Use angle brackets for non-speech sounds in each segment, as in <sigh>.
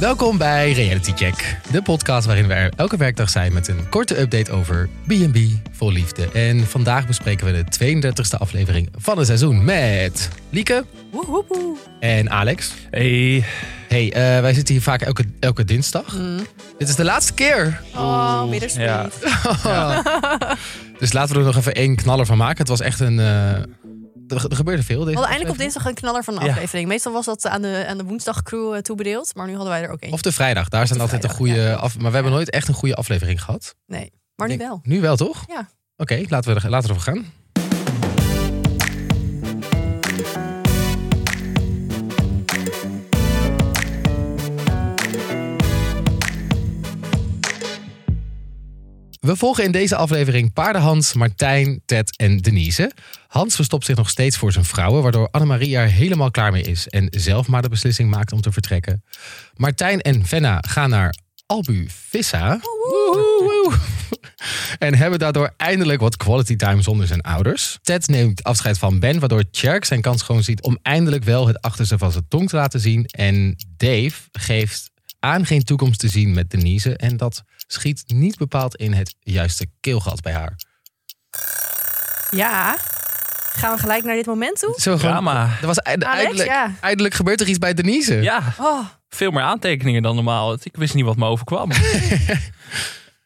Welkom bij Reality Check, de podcast waarin we er elke werkdag zijn met een korte update over B&B vol liefde. En vandaag bespreken we de 32e aflevering van het seizoen met Lieke Woehoehoe. en Alex. Hey. Hey, eh, wij zitten hier vaak elke, elke dinsdag. Mm. Dit is de laatste keer. Oh, bittersweet. Ja. Dus laten we er nog even één knaller van maken. Het was echt een... eh, er, er gebeurde veel. We Deze hadden eindelijk <laughs> op dinsdag een knaller van een Ja. aflevering. Meestal was dat aan de, aan de woensdagcrew eh, toebedeeld, maar nu hadden wij er ook één. Of de vrijdag. Daar zijn de altijd een vrijdag, goede... ja. Af, maar we hebben nooit echt een goede aflevering gehad. maar nu Denk- wel. Nu wel, toch? Ja. Oké, laten we er, laten we ervoor gaan. We volgen in deze aflevering paardenhans, Martijn, Ted en Denise. Hans verstopt zich nog steeds voor zijn vrouwen, waardoor Annemarie er helemaal klaar mee is en zelf maar de beslissing maakt om te vertrekken. Martijn en Venna gaan naar Albu Vissa. Woehoe. En hebben daardoor eindelijk wat quality time zonder zijn ouders. Ted neemt afscheid van Ben, waardoor Cherk zijn kans gewoon ziet om eindelijk wel het achterste van zijn tong te laten zien. En Dave geeft aan geen toekomst te zien met Denise. En dat schiet niet bepaald in het juiste keelgat bij haar. Ja. Gaan we gelijk naar dit moment toe? Zo Drama. Er was eind- Alex, eindelijk, ja. eindelijk gebeurt er iets bij Denise. Ja, Oh, veel meer aantekeningen dan normaal. Ik wist niet wat me overkwam.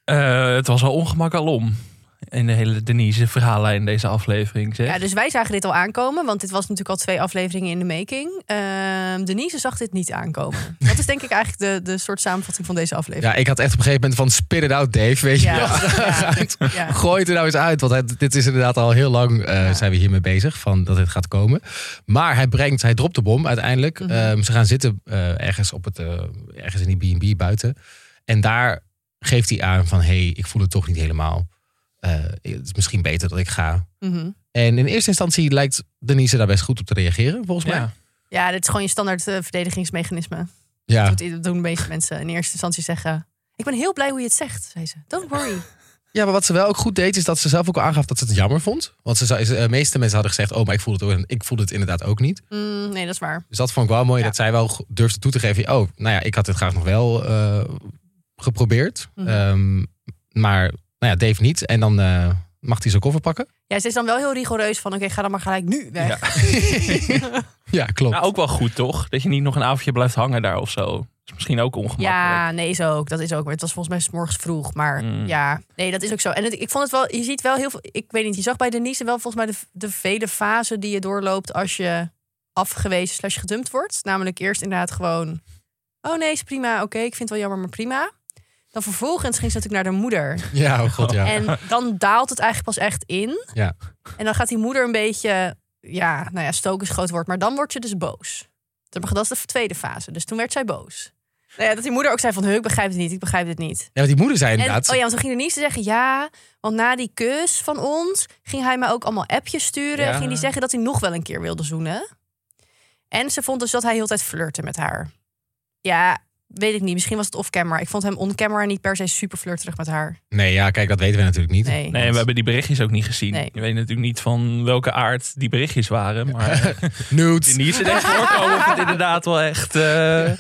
Eh, het was al ongemak alom. In de hele Denise verhaallijn deze aflevering. Zeg. ja, dus wij zagen dit al aankomen, want dit was natuurlijk al twee afleveringen in de making. Ehm, Denise zag dit niet aankomen. Dat is denk ik eigenlijk de, de soort samenvatting van deze aflevering. Ja, ik had echt op een gegeven moment van spit it out Dave, weet je Ja. wel. <laughs> Ja. Ja. Gooi het er nou eens uit. Want het- dit is inderdaad al heel lang eh, zijn we hiermee bezig. Van dat dit gaat komen. Maar hij brengt, hij dropt de bom uiteindelijk. Ehm, ze gaan zitten eh, ergens, op het, eh, ergens in die B&B buiten. En daar geeft hij aan van... Hé, hey, ik voel het toch niet helemaal. Eh, het is misschien beter dat ik ga. Mhm. En in eerste instantie lijkt Denise daar best goed op te reageren. Volgens mij. Ja. Ja, dit is gewoon je standaard eh, verdedigingsmechanisme. Ja, Dat doen de meeste mensen in eerste instantie zeggen. Ik ben heel blij hoe je het zegt, zei ze. Don't worry. Ja, maar wat ze wel ook goed deed, is dat ze zelf ook al aangaf dat ze het jammer vond. Want ze, zou- ze- de meeste mensen hadden gezegd, oh, maar ik voel het, ook- ik voel het inderdaad ook niet. Mm, nee, dat is waar. Dus dat vond ik wel mooi Ja. dat zij wel g- durfde toe te geven. Oh, nou ja, ik had dit graag nog wel eh, geprobeerd. Mhm. Ehm, maar nou ja, Dave niet. En dan eh, mag hij zijn koffer <laughs> pakken. Ja, ze is dan wel heel rigoureus van, oké, ga dan maar gelijk nu weg. <laughs> Ja. <laughs> Ja, klopt. Nou, ook wel goed toch? Dat je niet nog een avondje blijft hangen daar of zo. is misschien ook ongemakkelijk. Ja, nee, is ook. Dat is ook. Maar het was volgens mij 's morgens vroeg. Maar Mm. ja, nee, dat is ook zo. En het- ik vond het wel, je ziet wel heel veel. Ik weet niet, je zag bij Denise wel volgens mij de, de vele fasen die je doorloopt als je afgewezen slash gedumpt wordt. Namelijk eerst inderdaad gewoon. Oh nee, is prima. Oké, ik vind het wel jammer, maar prima. Dan vervolgens ging ze natuurlijk naar de moeder. Ja, oh god, ja. En dan daalt het eigenlijk pas echt in. Ja. En dan gaat die moeder een beetje, ja, nou ja, stoken is groot woord. Maar dan word je dus boos. Dat dat is de tweede fase. Dus toen werd zij boos. Nou ja, dat die moeder ook zei van, "Huh, ik begrijp het niet, ik begrijp het niet. Ja, want die moeder zei En, inderdaad... oh ja, want toen ging Denise zeggen, ja, want na die kus van ons... ging hij mij ook allemaal appjes sturen. Ja. En ging hij zeggen dat hij nog wel een keer wilde zoenen. En ze vond dus dat hij heel de tijd flirte met haar. Ja, weet ik niet. Misschien was het off-camera. Ik vond hem on-camera niet per se super flirterig met haar. Nee, ja, kijk, dat weten we natuurlijk niet. Nee. Nee, we hebben die berichtjes ook niet gezien. Nee. Je weet natuurlijk niet van welke aard die berichtjes <laughs> waren. Maar Nudes. Denise denkt voorkomen of het inderdaad wel echt... eh, Mark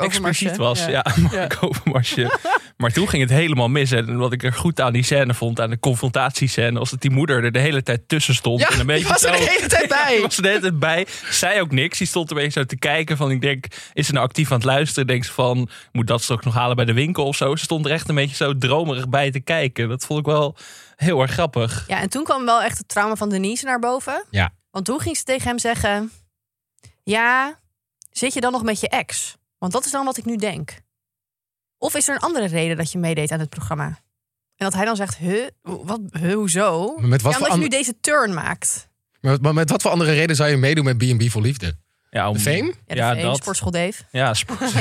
Overmars. expliciet was. Ja, <laughs> Mark Overmarsje. Maar toen ging het helemaal mis. En wat ik er goed aan die scène vond, aan de confrontatiescène, was dat die moeder er de hele tijd tussen stond. Ja, en die een beetje was er de <laughs> zo- hele tijd bij. Die was er de hele tijd bij. Zij ook niks. Die stond een beetje zo te kijken van, ik denk, is ze nou actief aan het luisteren? Denkt ze van, moet dat straks nog halen bij de winkel of zo? Ze stond er echt een beetje zo dromerig bij te kijken. Dat vond ik wel heel erg grappig. Ja, en toen kwam wel echt het trauma van Denise naar boven. Ja. Want toen ging ze tegen hem zeggen: Ja, zit je dan nog met je ex? Want dat is dan wat ik nu denk. Of is er een andere reden dat je meedeed aan het programma? En dat hij dan zegt: Huh, wat, huh, hoezo? Maar met wat ja, voor omdat je nu an- deze turn maakt. Maar, maar met wat voor andere reden zou je meedoen met B&B voor Liefde? Ja, om, De <laughs> fame? Ja, Ja, dat... dat. sportschool Dave. Ja, sport.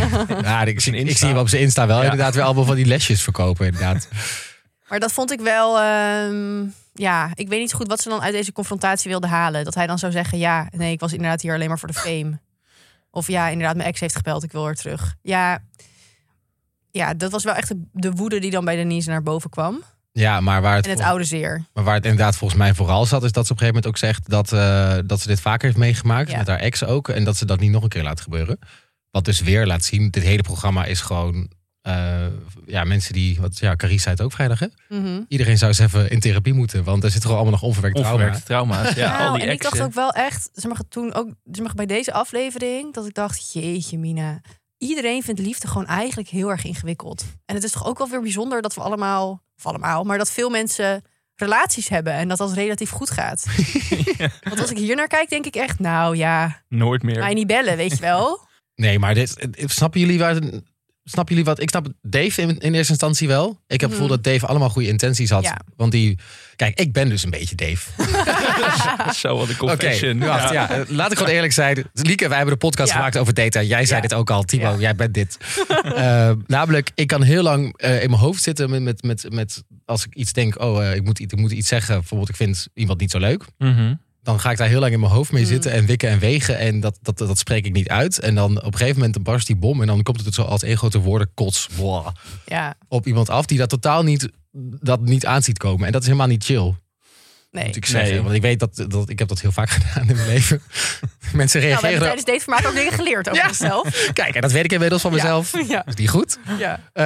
Ja, ik, zie- Zijn Insta. ik zie hem op zijn Insta wel Ja. inderdaad weer allemaal van die lesjes verkopen. <laughs> Inderdaad. Maar dat vond ik wel. ehm, ja, ik weet niet zo goed wat ze dan uit deze confrontatie wilde halen. Dat hij dan zou zeggen: Ja, nee, ik was inderdaad hier alleen maar voor de fame. Of ja, inderdaad, mijn ex heeft gebeld, ik wil weer terug. Ja, ja dat was wel echt de- de woede die dan bij Denise naar boven kwam. Ja, maar waar het, En het vol- oude zeer. maar waar het inderdaad volgens mij vooral zat, is dat ze op een gegeven moment ook zegt dat, eh, dat ze dit vaker heeft meegemaakt. Ja. Met haar ex ook. En dat ze dat niet nog een keer laat gebeuren. Wat dus weer laat zien, dit hele programma is gewoon... eh, ja, mensen die... Wat, ja, Carice zei het ook vrijdag, hè? Mhm. Iedereen zou eens even in therapie moeten. Want er zit gewoon allemaal nog onverwerkt trauma. Onverwerkte trauma's. Ja, Nou, al die en ik dacht exen. ook wel echt, zeg maar, toen ook, zeg maar, bij deze aflevering, dat ik dacht, jeetje Mina, iedereen vindt liefde gewoon eigenlijk heel erg ingewikkeld. En het is toch ook wel weer bijzonder dat we allemaal, of allemaal, maar dat veel mensen relaties hebben en dat dat relatief goed gaat. Want als ik hier naar kijk, denk ik echt, nou ja, Nooit meer. mij niet bellen, weet je wel. Nee, maar dit, eh, eh, snappen jullie waar... Snappen jullie wat? Ik snap Dave in, in eerste instantie wel. Ik heb het gevoel dat Dave allemaal goede intenties had. Mhm. Ja. Want die... Kijk, ik ben dus een beetje Dave. <laughs> Zo, wat een Oké, confession. wacht, ja. eh, Laat ik gewoon eerlijk zijn. Lieke, wij hebben de podcast Ja. gemaakt over data. Jij zei Ja. dit ook al, Timo. Ja. Jij bent <laughs> dit. Eh, namelijk, ik kan heel lang eh, in mijn hoofd zitten met, met, met, met... Als ik iets denk, oh, eh, ik, moet, iets- ik moet iets zeggen. Bijvoorbeeld, ik vind iemand niet zo leuk. Mhm. Dan ga ik daar heel lang in mijn hoofd mee Mm. zitten en wikken en wegen. En dat, dat, dat, dat spreek ik niet uit. En dan op een gegeven moment dan barst die bom. En dan komt het zo als één grote woordenkots blah, Ja, op iemand af. Die dat totaal niet, dat niet aan ziet komen. En dat is helemaal niet chill nee. Nou, moet ik zeggen. Nee. Want ik weet dat, dat ik heb dat heel vaak <laughs> gedaan in mijn leven. Mensen Nou, we reageren. hebben tijdens dit formaat ook dingen geleerd over Ja. onszelf. Kijk, en dat weet ik inmiddels van Ja. mezelf. <laughs> Ja, Is niet goed. ja. Eh,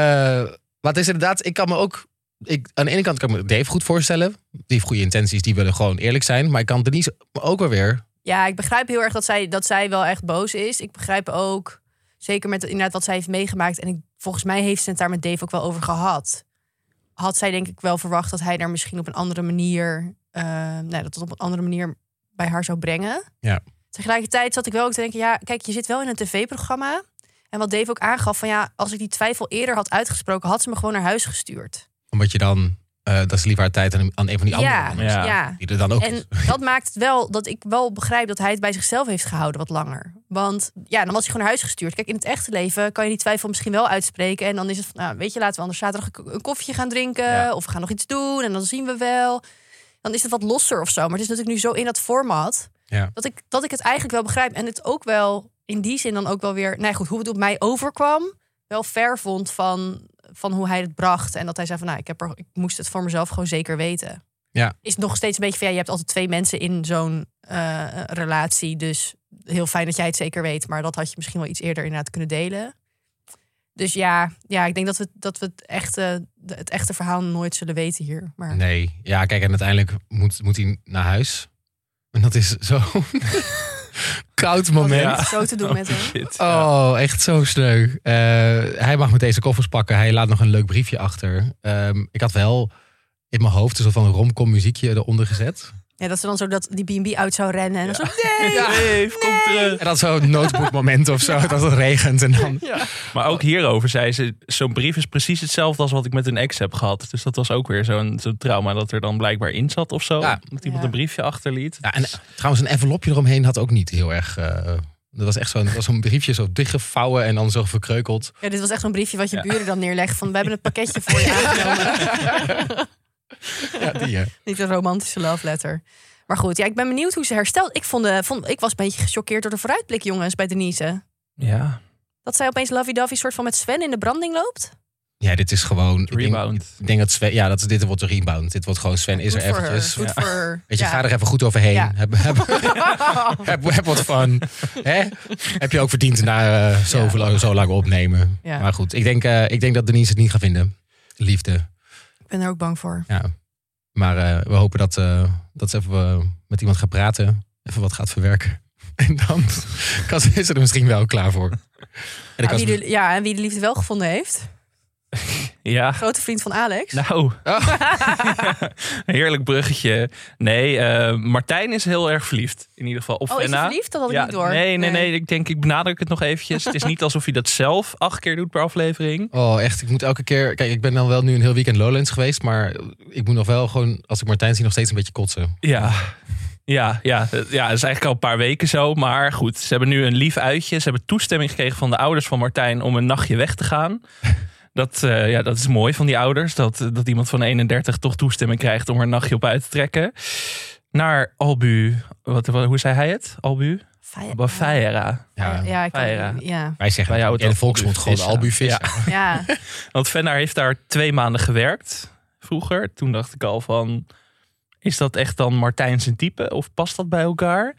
maar het is inderdaad, ik kan me ook. Ik, aan de ene kant kan ik me Dave goed voorstellen. Die heeft goede intenties, die willen gewoon eerlijk zijn. Maar ik kan Denise ook wel weer. Ja, ik begrijp heel erg dat zij, dat zij wel echt boos is. Ik begrijp ook, zeker met inderdaad wat zij heeft meegemaakt. En ik, volgens mij heeft ze het daar met Dave ook wel over gehad. Had zij denk ik wel verwacht dat hij daar misschien op een andere manier... eh, nou, dat het op een andere manier bij haar zou brengen. Ja. Tegelijkertijd zat ik wel ook te denken... Ja, kijk, je zit wel in een tv-programma. En wat Dave ook aangaf van ja, als ik die twijfel eerder had uitgesproken... had ze me gewoon naar huis gestuurd. Omdat je dan. eh, dat is liever haar tijd aan, aan een van die anderen. Ja, anders, Ja. ja. Die er dan ook is. En dat maakt het wel dat ik wel begrijp dat hij het bij zichzelf heeft gehouden wat langer. Want ja, dan was hij gewoon naar huis gestuurd. Kijk, in het echte leven kan je die twijfel misschien wel uitspreken. En dan is het van, nou, weet je, laten we anders zaterdag een- een koffietje gaan drinken. Ja. Of we gaan nog iets doen en dan zien we wel. Dan is het wat losser of zo. Maar het is natuurlijk nu zo in dat format Ja. dat, ik, dat ik het eigenlijk wel begrijp. En het ook wel in die zin dan ook wel weer, nee goed, hoe het op mij overkwam. Wel ver vond van, van hoe hij het bracht. En dat hij zei van, nou, ik, heb er, ik moest het voor mezelf gewoon zeker weten is nog steeds een beetje van ja, je hebt altijd twee mensen in zo'n eh, relatie. Dus heel fijn dat jij het zeker weet. Maar dat had je misschien wel iets eerder inderdaad kunnen delen. Dus ja, ja ik denk dat we, dat we het, echte, de- het echte verhaal nooit zullen weten hier. Maar Nee, ja, kijk, en uiteindelijk moet, moet hij naar huis. En dat is zo'n <laughs> koud dat moment. heeft niet zo te doen <laughs> met hem. Shit. Oh, echt zo sneu. Eh, hij mag met deze koffers pakken. Hij laat nog een leuk briefje achter. Ehm, ik had wel in mijn hoofd een soort van romcom muziekje eronder gezet. Ja, dat ze dan zo dat die B&B uit zou rennen. En dan zo, Ja. <laughs> nee! Nee, kom terug. En dan zo'n notebookmoment of zo, dat het regent. En dan... Maar ook hierover zei ze, zo'n brief is precies hetzelfde als wat ik met een ex heb gehad. Dus dat was ook weer zo'n zo'n trauma dat er dan blijkbaar in zat of zo. Ja. Dat iemand Ja. een briefje achterliet. ja, en trouwens, een envelopje eromheen had ook niet heel erg... eh, dat was echt zo'n dat was zo'n briefje zo dichtgevouwen en dan zo verkreukeld. Ja, dit was echt zo'n briefje wat je Ja. buren dan neerlegt. Van, we hebben het pakketje voor <laughs> je aangenomen. Ja, die, eh. Niet een romantische love letter. Maar goed, ja, ik ben benieuwd hoe ze herstelt. Ik, vond, de- vond, ik was een beetje gechoqueerd door de vooruitblik, jongens, bij Denise. Ja, Dat zij opeens lovey-dovey soort van met Sven in de branding loopt? ja, dit is gewoon... ik denk- Rebound. Ik denk dat Sven... Ja, dat, dit wordt de rebound. Dit wordt gewoon Sven is er Good for her, eventjes. Good for her. Weet je, Ja. ga <laughs> er even goed overheen. Ja. Heb, heb, heb, heb wat van. Hè? Heb je ook verdiend na eh, zoveel, zo lang opnemen. Ja. Maar goed, ik denk, eh, ik denk dat Denise het niet gaat vinden. Liefde. Ik ben er ook bang voor. Ja. Maar eh, we hopen dat, eh, dat ze even eh, met iemand gaat praten. Even wat gaat verwerken. <laughs> En dan kan ze, is ze er misschien wel klaar voor. En dan Ja, kan wie ze- de, ja, en wie de liefde wel gevonden heeft. ja. Grote vriend van Alex. Nou, <laughs> heerlijk bruggetje. Nee, eh, Martijn is heel erg verliefd. In ieder geval op oh, is hij Fenna. verliefd? Dat had ik Ja, niet door. Nee, nee, nee. Ik denk, ik benadruk het nog eventjes. het is niet alsof hij dat zelf acht keer doet per aflevering. Oh, echt. Ik moet elke keer... Kijk, ik ben dan wel nu een heel weekend Lowlands geweest. Maar ik moet nog wel gewoon, als ik Martijn zie, nog steeds een beetje kotsen. Ja. Ja, ja, eh, ja, dat is eigenlijk al een paar weken zo. Maar goed, ze hebben nu een lief uitje. Ze hebben toestemming gekregen van de ouders van Martijn om een nachtje weg te gaan. Dat, eh, ja, dat is mooi van die ouders. Dat, dat iemand van 31 toch toestemming krijgt om er een nachtje op uit te trekken. Naar Albu. Wat, wat- hoe zei hij het? Albu? Fei- Bafaira. Ja, ja, ik kan- Feira. Nou ja. <laughs> Wij zeggen Wij houden in de het over volksmond gewoon Albu albuvis. Visser. ja. Want Venna heeft daar twee maanden gewerkt vroeger. Toen dacht ik al van, is dat echt dan Martijn zijn type? Of past dat bij elkaar?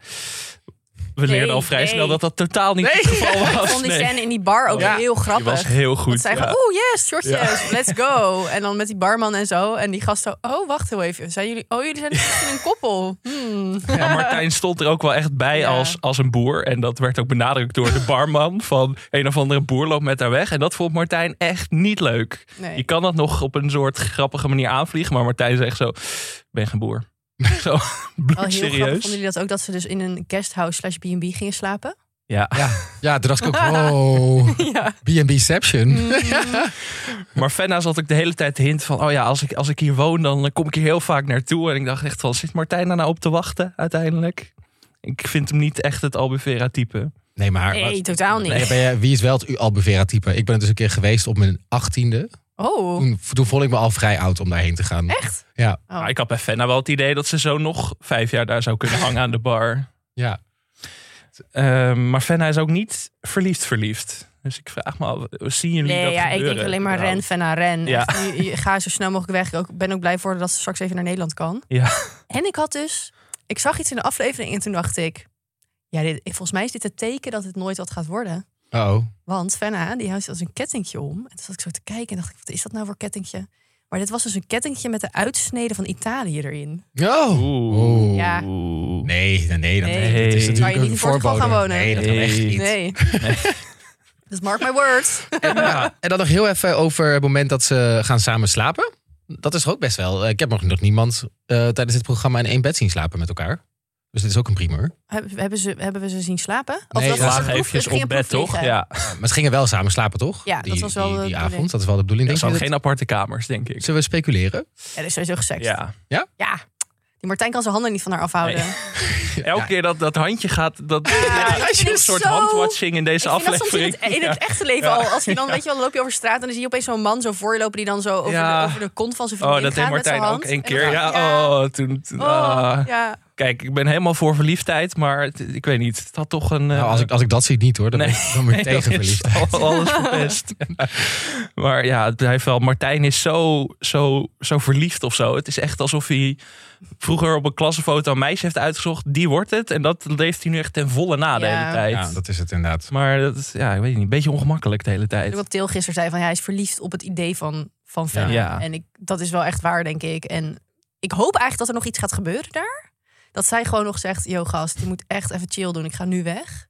We Nee, leerden al vrij nee. snel dat dat totaal niet Nee. het <laughs> geval Ik was. vond die Nee. scène in die bar ook Ja. heel Die grappig. was heel goed. Dat zij ja. gewoon, oeh, yes, shortjes, let's go. <laughs> En dan met die barman en zo. En die gast zo, oh, wacht heel even. Zijn jullie, oh, jullie zijn misschien een <laughs> koppel. Hmm. Maar Martijn stond er ook wel echt bij Ja. als, als een boer. En dat werd ook benadrukt door <laughs> de barman. Van een of andere boer loopt met haar weg. En dat vond Martijn echt niet leuk. Nee. Je kan dat nog op een soort grappige manier aanvliegen. Maar Martijn zegt zo, ik ben geen boer. <laughs> Zo Wel heel bloedserieus. grappig vonden jullie dat ook, dat ze dus in een guesthouse slash B&B gingen slapen? Ja, Ja, toen dacht ik ook, wow, <laughs> ja. B&Bception. Mm. maar Fenna zat ook de hele tijd de hint van... oh ja, als ik, als ik hier woon, dan kom ik hier heel vaak naartoe. En ik dacht echt van, zit Martijn daar nou op te wachten uiteindelijk? Ik vind hem niet echt het Albufera type. Nee, maar... Nee, totaal niet. Nee, ben jij- wie is wel het Albuvera-type? Ik ben er dus een keer geweest op mijn achttiende. <laughs> Oh, Toen, toen vond ik me al vrij oud om daarheen te gaan. echt? Ja, Oh. Maar ik had bij Fenna wel het idee dat ze zo nog vijf jaar daar zou kunnen hangen aan de bar. ja. Ehm, maar Fenna is ook niet verliefd verliefd. Dus ik vraag me af, zien jullie Nee, dat ja, ik gebeuren? denk alleen maar ren, überhaupt? Fenna, ren. Ja. Echt, nu- je- ga zo snel mogelijk weg. Ik ook- ben ook blij voor dat ze straks even naar Nederland kan. Ja. En ik had dus, ik zag iets in de aflevering en toen dacht ik, ja, dit, volgens mij is dit het teken dat het nooit wat gaat worden. Oh, Want Fenna, die houdt als een kettingje om. En toen zat ik zo te kijken en dacht ik, wat is dat nou voor kettingje? Maar dit was dus een kettingje met de uitsnede van Italië erin. Oh. Oeh. Ja. Nee, nee, nee. Dat, Nee. Het is natuurlijk Kan je niet een in Portugal voorbode. gaan wonen? Nee, dat kan echt Nee. niet. Nee. <laughs> <laughs> Dus mark my words. <laughs> En, ja, en dan nog heel even over het moment dat ze gaan samen slapen. Dat is er ook best wel. Ik heb nog, nog niemand eh, tijdens dit programma in één bed zien slapen met elkaar. Dus dit is ook een primeur. Hebben, hebben, ze, hebben we ze zien slapen? Nee, was ja. een Laag proef- eventjes het ging op een bed, toch? proefvliegen. Ja. Maar ze gingen wel samen slapen, toch? Ja, dat Die- was wel die, de die bedoeling. avond. Dat is wel de bedoeling. Er Denk zijn je geen dat- aparte kamers, denk ik. Zullen we speculeren? Ja, er is sowieso geseks. Ja. Ja. Die Martijn kan zijn handen niet van haar afhouden. Nee. Elke keer dat dat handje gaat, dat dat <laughs> ja, vind het is ik een soort zo- handwatching in deze Ik vind dat soms in aflevering. het, in het echte leven al. Als je dan, weet je wel, dan loop je over straat en dan zie je opeens zo'n man zo voorlopen die dan zo over, Ja. de, over de kont van zijn Ja. Oh, vriendin dat gaat deed met zijn Martijn ook hand. één En dan keer. Ja, dacht ik, ja. oh, toen... toen- Oh, ah. ja. Kijk, ik ben helemaal voor verliefdheid, maar het- ik weet niet. Het had toch een... Nou, eh, als, ik, als ik dat zie, niet hoor. Dan ben Nee. ik, dan ben ik <laughs> Nee, tegen dat is verliefd. al- Alles <laughs> verpest. maar ja, het blijft wel. Martijn is zo, zo, zo verliefd of zo. Het is echt alsof hij vroeger op een klassenfoto een meisje heeft uitgezocht. Die wordt het. En dat leeft hij nu echt ten volle na de Ja. hele tijd. Ja, dat is het inderdaad. Maar dat is, ja, ik weet niet, een beetje ongemakkelijk de hele tijd. Ook wat Til gisteren zei, van ja, hij is verliefd op het idee van, van Fenna. Ja. En ik, dat is wel echt waar, denk ik. En ik hoop eigenlijk dat er nog iets gaat gebeuren daar. Dat zij gewoon nog zegt, yo gast, je moet echt even chill doen. Ik ga nu weg.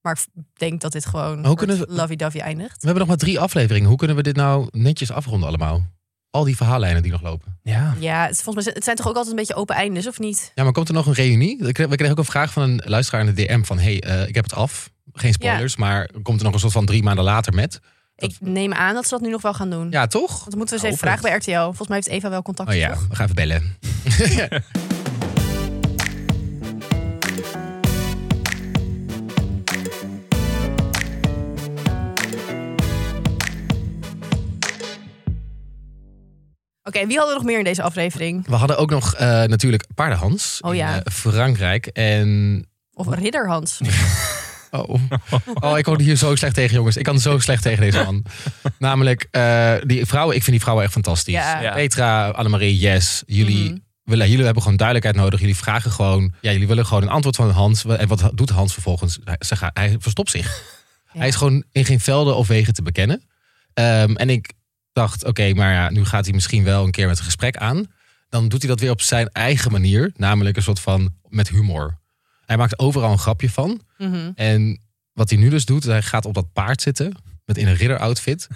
Maar ik denk dat dit gewoon Maar hoe kunnen we- lovey-dovey eindigt. We hebben nog maar drie afleveringen. Hoe kunnen we dit nou netjes afronden allemaal? Al die verhaallijnen die nog lopen. Ja. Ja, het, is volgens mij, het zijn toch ook altijd een beetje open eindes, of niet? Ja, maar komt er nog een reunie? We kregen we kregen ook een vraag van een luisteraar in de DM van... hey, eh, ik heb het af. Geen spoilers, maar komt er nog een soort van drie maanden later met? Dat- Ik neem aan dat ze dat nu nog wel gaan doen. Ja, toch? Want dan moeten we eens even Hoop vragen het. bij RTL. Volgens mij heeft Eva wel contact, Oh ja, toch? we gaan even bellen. Oké, wie hadden we nog meer in deze aflevering? We hadden ook nog eh, natuurlijk Paardenhans Oh ja. in eh, Frankrijk. En... Of Ridder <laughs> Hans? Oh. oh, ik hoorde hier zo slecht tegen, jongens. Ik kan zo slecht tegen deze man. Namelijk, eh, die vrouwen, ik vind die vrouwen echt fantastisch. Ja. Ja. Petra, Annemarie, Yes, jullie... Mhm. willen, jullie hebben gewoon duidelijkheid nodig. Jullie vragen gewoon, ja, jullie willen gewoon een antwoord van Hans. En wat doet Hans vervolgens? Hij, ze gaat- hij verstopt zich. Hij is gewoon in geen velden of wegen te bekennen. Ehm, en ik dacht, oké, maar ja, nu gaat hij misschien wel een keer met een gesprek aan. Dan doet hij dat weer op zijn eigen manier, namelijk een soort van met humor. Hij maakt overal een grapje van. Mhm. En wat hij nu dus doet, hij gaat op dat paard zitten met in een ridderoutfit.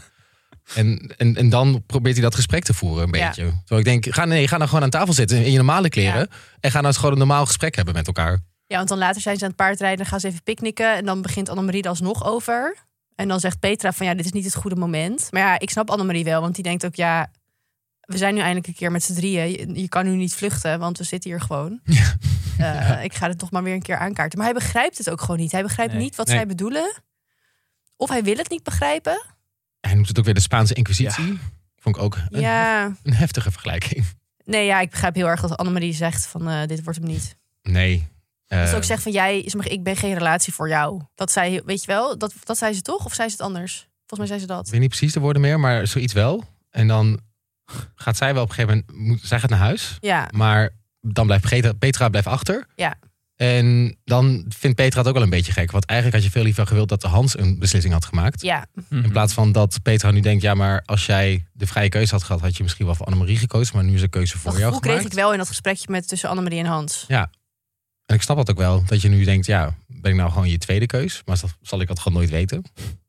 En, en, en dan probeert hij dat gesprek te voeren een Ja. beetje. Zo, ik denk, ga, nee, ga nou gewoon aan tafel zitten in je normale kleren. En ga nou eens gewoon een normaal gesprek hebben met elkaar. Ja, want dan later zijn ze aan het paardrijden, dan gaan ze even picknicken. En dan begint Annemarie er alsnog over. En dan zegt Petra van ja, dit is niet het goede moment. Maar ja, ik snap Annemarie wel, want die denkt ook ja... We zijn nu eindelijk een keer met z'n drieën. Je, je kan nu niet vluchten, want we zitten hier <laughs> gewoon. Eh, ik ga het toch maar weer een keer aankaarten. Maar hij begrijpt het ook gewoon niet. Hij begrijpt Nee. niet wat Nee. zij bedoelen. Of hij wil het niet begrijpen. Hij noemt het ook weer de Spaanse Inquisitie. Vond ik ook een, Ja, een heftige vergelijking. nee, ja, ik begrijp heel erg dat Annemarie zegt van eh, dit wordt hem niet. Nee. Dat ze eh, ook zegt van jij, zeg maar, ik ben geen relatie voor jou. Dat zij, weet je wel, dat, dat zei ze toch? Of zei ze het anders? Volgens mij zei ze ik dat. weet niet precies de woorden meer, maar zoiets wel. En dan gaat zij wel op een gegeven moment, moet, zij gaat naar huis. Ja, Maar dan blijft Petra, Petra blijft achter. Ja. En dan vindt Petra het ook wel een beetje gek. Want eigenlijk had je veel liever gewild dat Hans een beslissing had gemaakt. Ja, In plaats van dat Petra nu denkt, ja, maar als jij de vrije keuze had gehad, had je misschien wel voor Annemarie gekozen. Maar nu is de keuze voor dat jou gevoel gemaakt. kreeg ik wel in dat gesprekje met tussen Annemarie en Hans. En ik snap dat ook wel. Dat je nu denkt, ja, ben ik nou gewoon je tweede keus? Maar zal- zal ik dat gewoon nooit weten? <laughs>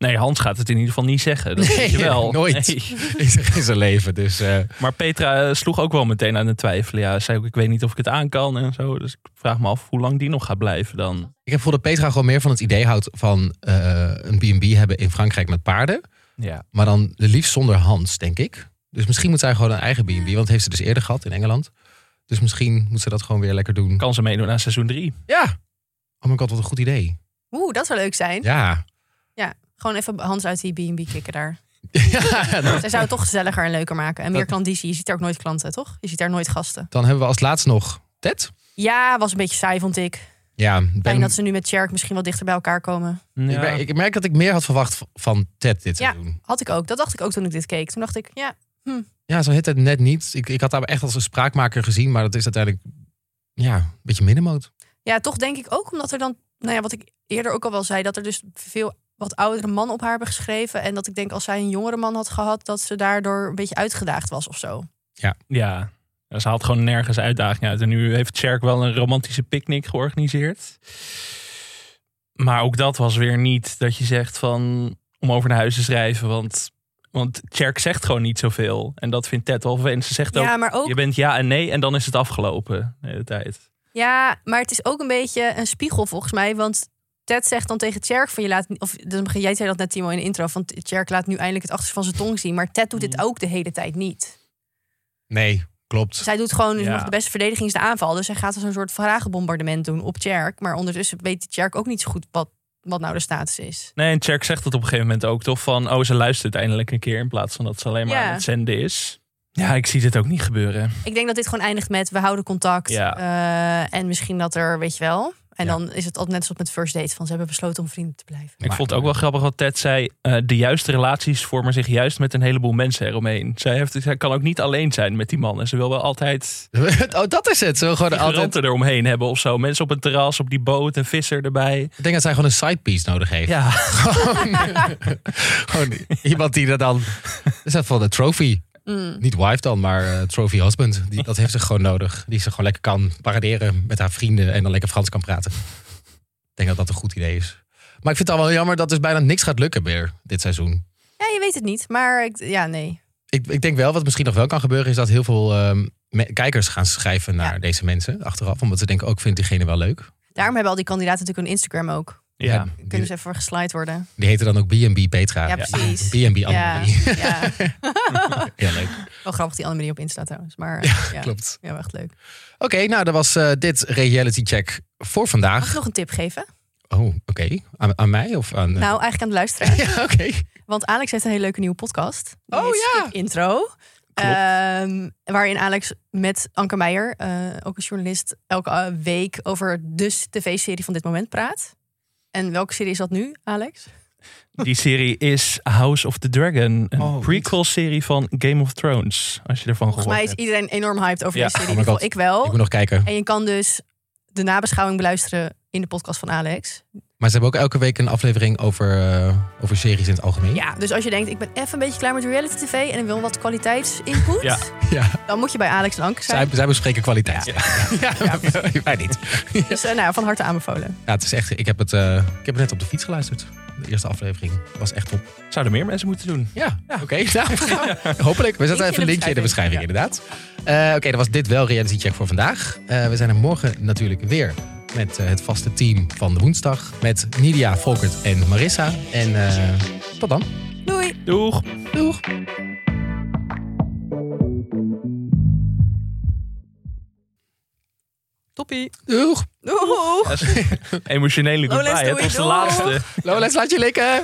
Nee, Hans gaat het in ieder geval niet zeggen. Dat weet je Nee, <laughs> wel. nooit. Nee. Is er in zijn leven. Dus eh, Maar Petra eh, sloeg ook wel meteen aan het twijfelen. Ja, zei ook, ik weet niet of ik het aan kan en zo. Dus ik vraag me af hoe lang die nog gaat blijven dan. ik heb gevoel dat Petra gewoon meer van het idee houdt van eh, een B&B hebben in Frankrijk met paarden. Ja. Maar dan de liefst zonder Hans, denk ik. Dus misschien moet zij gewoon een eigen B&B. Want dat heeft ze dus eerder gehad in Engeland. Dus misschien moet ze dat gewoon weer lekker doen. Kan ze meedoen aan seizoen 3. Ja. Oh mijn god, wat een goed idee. Oeh, dat zou leuk zijn. Ja. <laughs> Gewoon even Hans uit die B&B kicken daar. ja. Zij zou het toch gezelliger en leuker maken. En meer klandizie. Je ziet daar ook nooit klanten, toch? Je ziet daar nooit gasten. Dan hebben we als laatst nog Ted. Ja, was een beetje saai, vond ik. Ja, ben, Fijn dat ze nu met Cherk misschien wel dichter bij elkaar komen. ik, ben- ik merk dat ik meer had verwacht v- van Ted dit Ja. seizoen. Had ik ook. Dat dacht ik ook toen ik dit keek. Toen dacht ik, ja, Ja, zo heet het net niet. Ik, ik had hem echt als een spraakmaker gezien, maar dat is uiteindelijk ja, een beetje middenmoot. Ja, toch denk ik ook omdat er dan, nou ja, wat ik eerder ook al wel zei, dat er dus veel wat oudere mannen op haar hebben geschreven. En dat ik denk als zij een jongere man had gehad, dat ze daardoor een beetje uitgedaagd was of zo. Ja. Ja, Ze haalt gewoon nergens uitdaging uit. En nu heeft Cherk wel een romantische picknick georganiseerd. Maar ook dat was weer niet dat je zegt van... om over naar huis te schrijven, want... Want Cherk zegt gewoon niet zoveel. En dat vindt Ted wel vervelend. Ze zegt Ja, ook, maar je ook, bent ja en nee en dan is het afgelopen de hele tijd. ja, maar het is ook een beetje een spiegel volgens mij, want Ted zegt dan tegen Tjerk van je laat, of dan begin- jij zei dat net Timo in de intro, van Tjerk laat nu eindelijk het achterste van zijn tong zien, maar Ted doet dit Mhm. ook de hele tijd niet. Nee, klopt. Zij doet gewoon dus Ja. nog de beste verdediging is de aanval, dus zij gaat als een soort vragenbombardement doen op Tjerk, maar ondertussen weet Tjerk ook niet zo goed wat, wat nou de status is. Nee, en Cherk zegt dat op een gegeven moment ook toch van... oh, ze luistert eindelijk een keer in plaats van dat ze alleen maar Ja. aan het zenden is. Ja, ik zie dit ook niet gebeuren. Ik denk dat dit gewoon eindigt met we houden contact. Ja. eh, en misschien dat er, weet je wel. En Ja. dan is het altijd net zoals met first date. Van ze hebben besloten om vrienden te blijven. Ik Maar- vond het ook wel grappig wat Ted zei. eh, de juiste relaties vormen zich juist met een heleboel mensen eromheen. Zij, heeft, zij kan ook niet alleen zijn met die mannen. Ze wil wel altijd <laughs> oh, dat is het. Ze wil gewoon altijd, figuranten eromheen hebben of zo. Mensen op het terras, op die boot, een visser erbij. ik denk dat zij gewoon een sidepiece nodig heeft. Ja, <laughs> gewoon iemand die dat dan... Dat is dat van de trophy. Mm. Niet wife dan, maar eh, trophy husband. Die, dat heeft ze gewoon nodig. Die ze gewoon lekker kan paraderen met haar vrienden en dan lekker Frans kan praten. Ik denk dat dat een goed idee is. Maar ik vind het al wel jammer dat dus bijna niks gaat lukken meer dit seizoen. Ja, je weet het niet. Maar ik, ja, nee. ik, ik denk wel, wat misschien nog wel kan gebeuren, is dat heel veel ehm, me- kijkers gaan schrijven naar deze mensen achteraf. Omdat ze denken, ook ik vind diegene wel leuk. Daarom hebben al die kandidaten natuurlijk hun Instagram ook. ja. Die, Kunnen ze even voor geslaaid worden. die heten dan ook B&B Petra. Ja, precies. B&B Ja, Annemarie. <laughs> ja. Ja. leuk. Wel grappig die Annemarie op Insta trouwens. Maar eh, ja, Klopt. ja, wel echt leuk. Oké, nou, dat was eh, dit reality check voor Mag ik vandaag. nog een tip geven? Oh, oké. Aan, aan mij of aan... eh, Nou, eigenlijk aan de luisteraar. <laughs> ja, oké. Want Alex heeft een hele leuke nieuwe podcast. Die Oh, heet ja. Skip Intro. Klopt. Ehm, waarin Alex met Anke Meijer, eh, ook een journalist, elke eh, week over de s- tv-serie van dit moment praat. En welke serie is dat nu, Alex? Die serie is House of the Dragon. Een Oh, prequel serie van Game of Thrones. Als je ervan Volgens mij gehoord is hebt. iedereen enorm hyped over Ja. die serie. Oh in my ieder God. geval ik wel. Ik moet nog kijken. En je kan dus de nabeschouwing beluisteren in de podcast van Alex. Maar ze hebben ook elke week een aflevering over, eh, over series in het algemeen. Ja, dus als je denkt, ik ben even een beetje klaar met reality tv en ik wil wat kwaliteitsinput, <laughs> Ja. Ja. dan moet je bij Alex en Anke zijn. Zij, zij bespreken kwaliteit. <laughs> Ja, <laughs> wij niet. Dus eh, nou, van harte aanbevolen. Ja, het is echt. Ik heb het, eh, ik heb het net op de fiets geluisterd. De eerste aflevering was echt top. Zouden meer mensen moeten doen. Ja, oké. <laughs> nou, we gaan- hopelijk. We zetten Linkje even een linkje in de beschrijving, inderdaad. Eh, oké, dat was dit wel Reality Check voor vandaag. Eh, we zijn er morgen natuurlijk weer met eh, het vaste team van de woensdag. Met Nidia, Volkert en Marissa. En eh, tot dan. Doei! Doeg! Doeg! Toppie! Doeg! Doeg! Dat is <laughs> een Emotionele Lowlands, goodbye. doei, Het was de doeg. laatste. Lowlands, laat je likken!